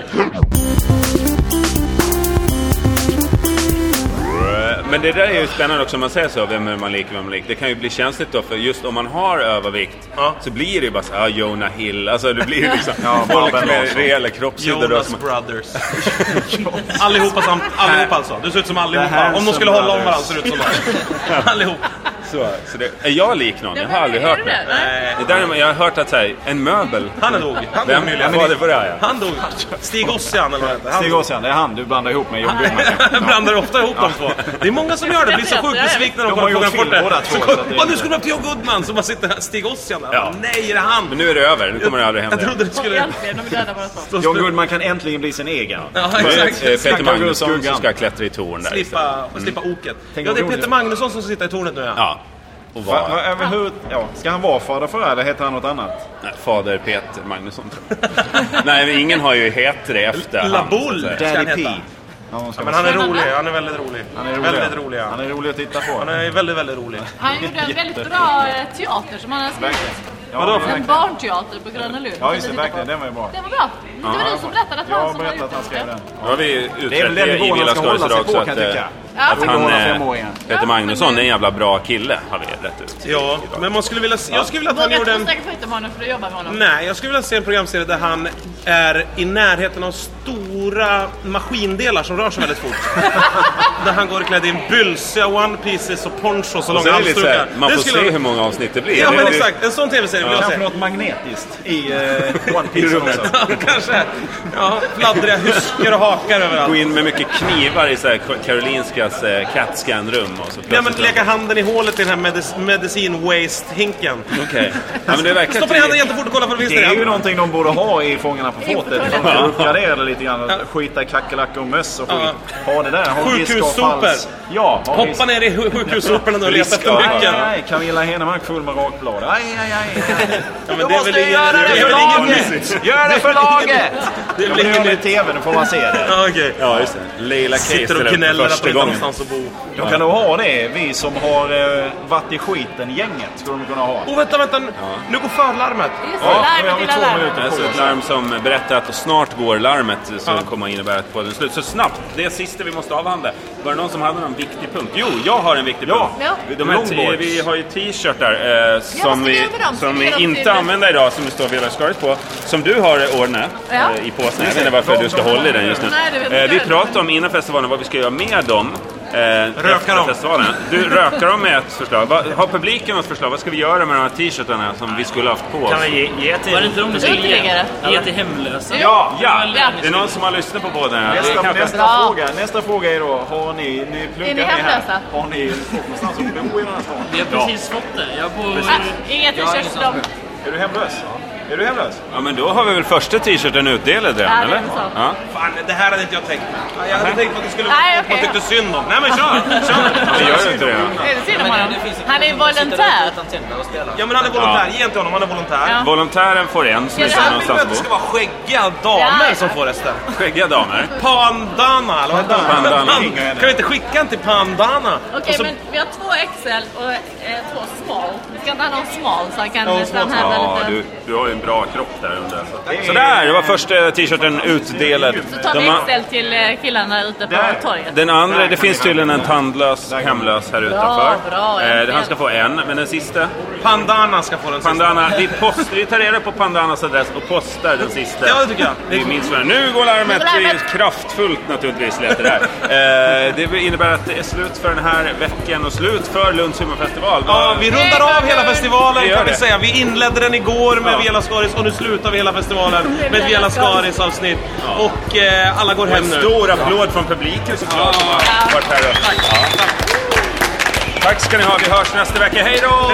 S3: Eh, Men det där är ju spännande också om man säger så, vem är man lik, vem är man lik? Det kan ju bli känsligt då, för just om man har övervikt
S2: Ja.
S3: så blir det ju bara så ah, Jonah Hill, alltså det blir ju liksom
S4: Ja,
S3: folk
S4: Babben
S3: med
S4: Larsson.
S3: rejäla kroppshydder. då
S2: Jonas
S3: som-
S2: Brothers. allihopa samt, allihopa alltså. Du ser ut som
S4: The
S2: allihopa.
S4: Hanson
S2: Om de skulle hålla om varandra
S4: Brothers.
S2: ser du ut som allihopa. Allihop.
S3: Så, så det, är jag lik någon? Jag har aldrig
S1: Är
S3: hört det.
S1: det. Nej.
S2: Nej.
S3: det där, är- jag har hört att så här, en möbel,
S2: Han är dog. Han dog
S3: vem
S2: nyligen.
S3: var det för det här? Ja.
S2: Han dog. Stig Ossian eller vad heter han?
S4: Stig Åsjan, det är han du blandar ihop med John Goodman.
S2: Jag blandar ofta ihop de två. Det är många som gör det. Blir så sjukt besvikna när de
S4: De har
S2: kommer på
S4: gjort
S2: Grand
S4: film båda
S2: Prix.
S4: två,
S2: Så
S4: så att det
S2: kommer-
S4: är-
S2: Åh, Nu skulle det vara P.O. Goodman som bara sitter här. Stig Ossian där.
S3: Ja.
S2: Nej, är det han?
S3: Men nu är det över, nu kommer det aldrig
S2: Jag
S3: hända.
S2: trodde det
S1: Och
S2: skulle...
S1: Äntligen, de är döda båda två.
S4: John Goodman kan äntligen bli sin egen.
S2: Ja,
S3: Det är, eh,
S2: exakt.
S3: Peter
S4: Snacka om
S3: Magnusson som
S4: skuggan.
S3: ska klättra i torn där. liksom. istället.
S2: Slippa, slippa oket.
S4: Tänk
S2: Ja,
S4: om
S2: det är
S4: det
S2: Peter
S4: gjorde-
S2: Magnusson som ska sitta i tornet nu ja.
S3: Ja. Och
S4: Va, va,
S3: var,
S4: över hur, ja, ska han vara fader för eller heter han något annat?
S3: nej, fader Peter Magnusson tror jag. Nej, men ingen har ju heter det efter han, så att
S2: Laboul
S3: säga.
S2: ska han
S4: Daddy P.
S2: heta.
S4: Ja, de ska
S2: Ja,
S4: vara
S2: men han är rolig. Han är väldigt rolig.
S4: Han är rolig.
S2: Väldigt rolig, ja.
S4: Han är rolig att titta på.
S2: Han är väldigt, väldigt rolig.
S1: Han gjorde en väldigt bra eh, teater som han hade skrivit.
S4: Verkligen. Ja,
S2: Vadå?
S4: verkligen.
S1: En barnteater på Gröna Lund.
S4: Ja, just det.
S1: Som vi tittade på.
S4: Verkligen. Den var ju bra.
S1: Det var bra. Det var du som berättade att
S4: Jag
S1: han
S4: har
S1: som hade
S4: berättat
S1: gjort
S4: att han skrev den.
S3: Nu har vi ju
S4: Det är väl
S3: utrett
S4: den
S3: i, i
S4: nivån
S3: Villa
S4: man ska
S3: Skaris
S4: hålla sig
S3: idag
S4: på
S3: också
S4: kan jag
S3: att, eh,
S4: tycka.
S1: Ja.
S3: att
S1: Vill
S3: han,
S4: hålla
S3: eh,
S4: femåringen.
S1: Ja,
S3: Peter Magnusson är
S1: men-
S3: en jävla bra kille har vi rätt ut.
S2: Ja, men man skulle vilja se, jag skulle vilja att han
S1: Vågar
S2: gjorde
S1: inte
S2: en...
S1: snacka skit om honom för du jobbar med honom.
S2: Nej, jag skulle vilja se en programserie där han är i närheten av stora maskindelar som rör sig väldigt fort. där han går klädd i en bylsiga one pieces och ponchos och
S3: Och så
S2: långa
S3: är det lite såhär,
S2: halsdukar.
S3: man får se
S2: skulle...
S3: hur många avsnitt det blir.
S2: Ja
S3: Det
S2: men
S3: är ju-
S2: exakt, en sån tv-serie vill jag
S4: Kanske
S2: se.
S4: något magnetiskt i eh, One Piece
S3: rummet.
S4: också.
S2: Ja, Kanske. Ja, fladdriga hyskor och hakar
S3: Gå
S2: överallt.
S3: in med mycket knivar i så här Karolinskas eh, CAT-scan-rum och så
S2: Ja men leka
S3: plötsligt-
S2: handen i hålet i den här medis- medicin waste-hinken.
S3: Okej. Ja, men det verkar
S2: Stoppa i handen
S3: inte...
S2: jättefort och kolla för det finns
S4: Det är ju
S2: där.
S4: någonting de borde ha i Fångarna på fortet. De borde uppgradera det lite grann. Skita i kackerlackor och möss och skit. Ha det där. Ha risk och
S2: Sjukhussopor.
S4: fals. Ja, ha risk-
S2: Hoppa ner i sj- sjukhussoporna nu och leta efter
S4: Aj,
S2: nyckeln.
S4: aj, aj. Camilla Henemark full med rakblad. Aj, aj, aj. aj.
S2: Ja, men
S4: Jag
S2: det är
S4: måste
S2: väl ingen-
S4: göra
S2: det är
S4: det
S2: väl
S4: för
S2: ingen
S4: laget.
S2: nytt.
S4: Gör det för laget!
S2: Det är
S4: Jag
S2: väl
S4: blir
S2: ingen
S4: nu i
S2: nytt.
S4: TV, nu får man se det.
S2: Ja, okej.
S3: Ja, just det. Leila Case
S2: Sitter
S3: är
S2: och
S3: där
S2: gnäller
S3: för
S2: att de
S3: första
S2: inte har
S3: gången.
S2: någonstans att bo.
S4: De kan nog ha det, vi som har eh, varit i skiten gänget. Skulle de kunna ha.
S2: Oh, vänta, vänta. Nu går förlarmet.
S1: Just det,
S4: Ja, nu
S1: larmet
S4: har vi
S1: lilla
S4: två
S1: larmet.
S4: minuter
S3: Det är så
S4: på
S3: ett
S4: oss.
S3: larm som berättar att snart går larmet som kommer att innebära att podden är slut. Så snabbt, det är sista vi måste avhandla. Var det någon som hade någon viktig punkt? Jo, jag har en viktig
S4: Ja.
S3: punkt.
S1: Ja.
S3: De här t-
S4: Longboards.
S3: vi har ju t-shirtar eh, som
S1: vad ska vi
S3: vi,
S1: göra med dem? Ska
S3: som
S1: vi
S3: vi
S1: göra dem
S3: inte
S1: till-
S3: använder idag, som det står Villa Skaris på. Som du har ordnat
S1: Ja.
S3: eh, i påsen. Jag vet inte varför du ska hålla i den just nu.
S1: Nej, det vet
S3: Eh,
S1: inte
S3: vi
S1: jag.
S3: pratade om innan festivalen vad vi ska göra med dem. eh,
S2: Röka dem.
S3: festivalen. Du, röka dem är ett förslag. Va, har publiken något förslag? Vad ska vi göra med de här t-shirtarna som vi skulle haft på oss?
S8: Kan vi ge, ge
S7: Var det
S8: till...
S7: inte de du skulle ge?
S1: Uteliggare.
S7: Ge till hemlösa?
S3: Ja, ja!
S1: Ja.
S3: Det är någon som har lyssnat på båda här. Det är
S4: Nästa,
S3: kanske-
S4: nästa,
S1: Bra.
S4: fråga, nästa fråga är då, har ni, ni pluggar
S1: Är ni
S4: ni här,
S1: hemlösa?
S4: har ni folk någonstans att bo i den här stan?
S7: Vi har precis fått det. Jag bor...
S1: Ah, inga t-shirts till dem.
S4: Är du hemlös? Är du hemlös?
S3: Ja, men då har vi väl första t-shirten utdelad redan,
S1: Ja, det är
S3: eller?
S1: väl så.
S3: Ja.
S2: Fan, det här hade inte jag tänkt mig. Ja, Jag hade tänkt på att det skulle vara
S1: Nej,
S2: folk man
S1: okej.
S2: tyckte synd om. Nej men kör!
S3: Vi
S2: kör.
S3: gör inte det.
S1: Är det synd om
S6: Men
S1: honom?
S6: det finns ju
S1: Han är
S6: personer som sitter där
S1: volontär.
S6: utan tänder och spelar.
S2: Ja men han är volontär, ge inte honom, han är volontär.
S1: Ja.
S3: Volontären får en som
S1: Ja, det
S3: inte har
S1: här
S2: Jag vill att det
S3: någonstans
S2: ska
S3: att
S2: vara skäggiga damer
S1: Ja.
S2: som får resten.
S3: bo. Skäggiga damer.
S2: Pandana, eller vad heter han?
S3: Pandana.
S2: Pan- Kan vi inte skicka en till Pandana?
S1: Okej, men vi har två XL och eh, två small. Vi ska inte ha någon small så han kan
S2: Ja, small.
S1: framhäva
S3: Ja,
S1: lite.
S3: du, du har ju en bra kropp där under. Sådär, det var första t-shirten utdelad.
S1: Så tar
S3: De
S1: vi
S3: har-
S1: XL till eh, killarna ute på torget.
S3: Den andra, det finns tydligen en tandlös hemlös här utanför.
S1: bra,
S3: Eh,
S1: äntligen.
S3: Han ska få en, men den sista.
S2: Pandana ska få den sista.
S3: Pandana, vi, post, vi tar reda på Pandanas adress och postar den sista.
S2: Ja, det tycker jag.
S3: Vi minns varandra. Nu går larmet!
S1: Nu går
S3: Det
S1: larmet.
S3: är kraftfullt naturligtvis, lät det där. Eh, det innebär att det är slut för den här veckan och slut för Lunds humorfestival.
S2: Ja, vi rundar av hela
S3: Vi
S2: festivalen
S3: gör
S2: kan vi
S3: det.
S2: säga. Vi inledde den igår med
S3: Ja.
S2: Vela Skaris och nu slutar vi hela festivalen med ett Vela
S1: Vela Skaris.
S2: Skaris avsnitt. Och eh, alla går
S3: Och
S2: hem
S3: en
S2: nu.
S3: stor applåd från publiken såklart som har varit här. och- Ja. Tack ska ni ha, vi hörs nästa vecka. Hej då!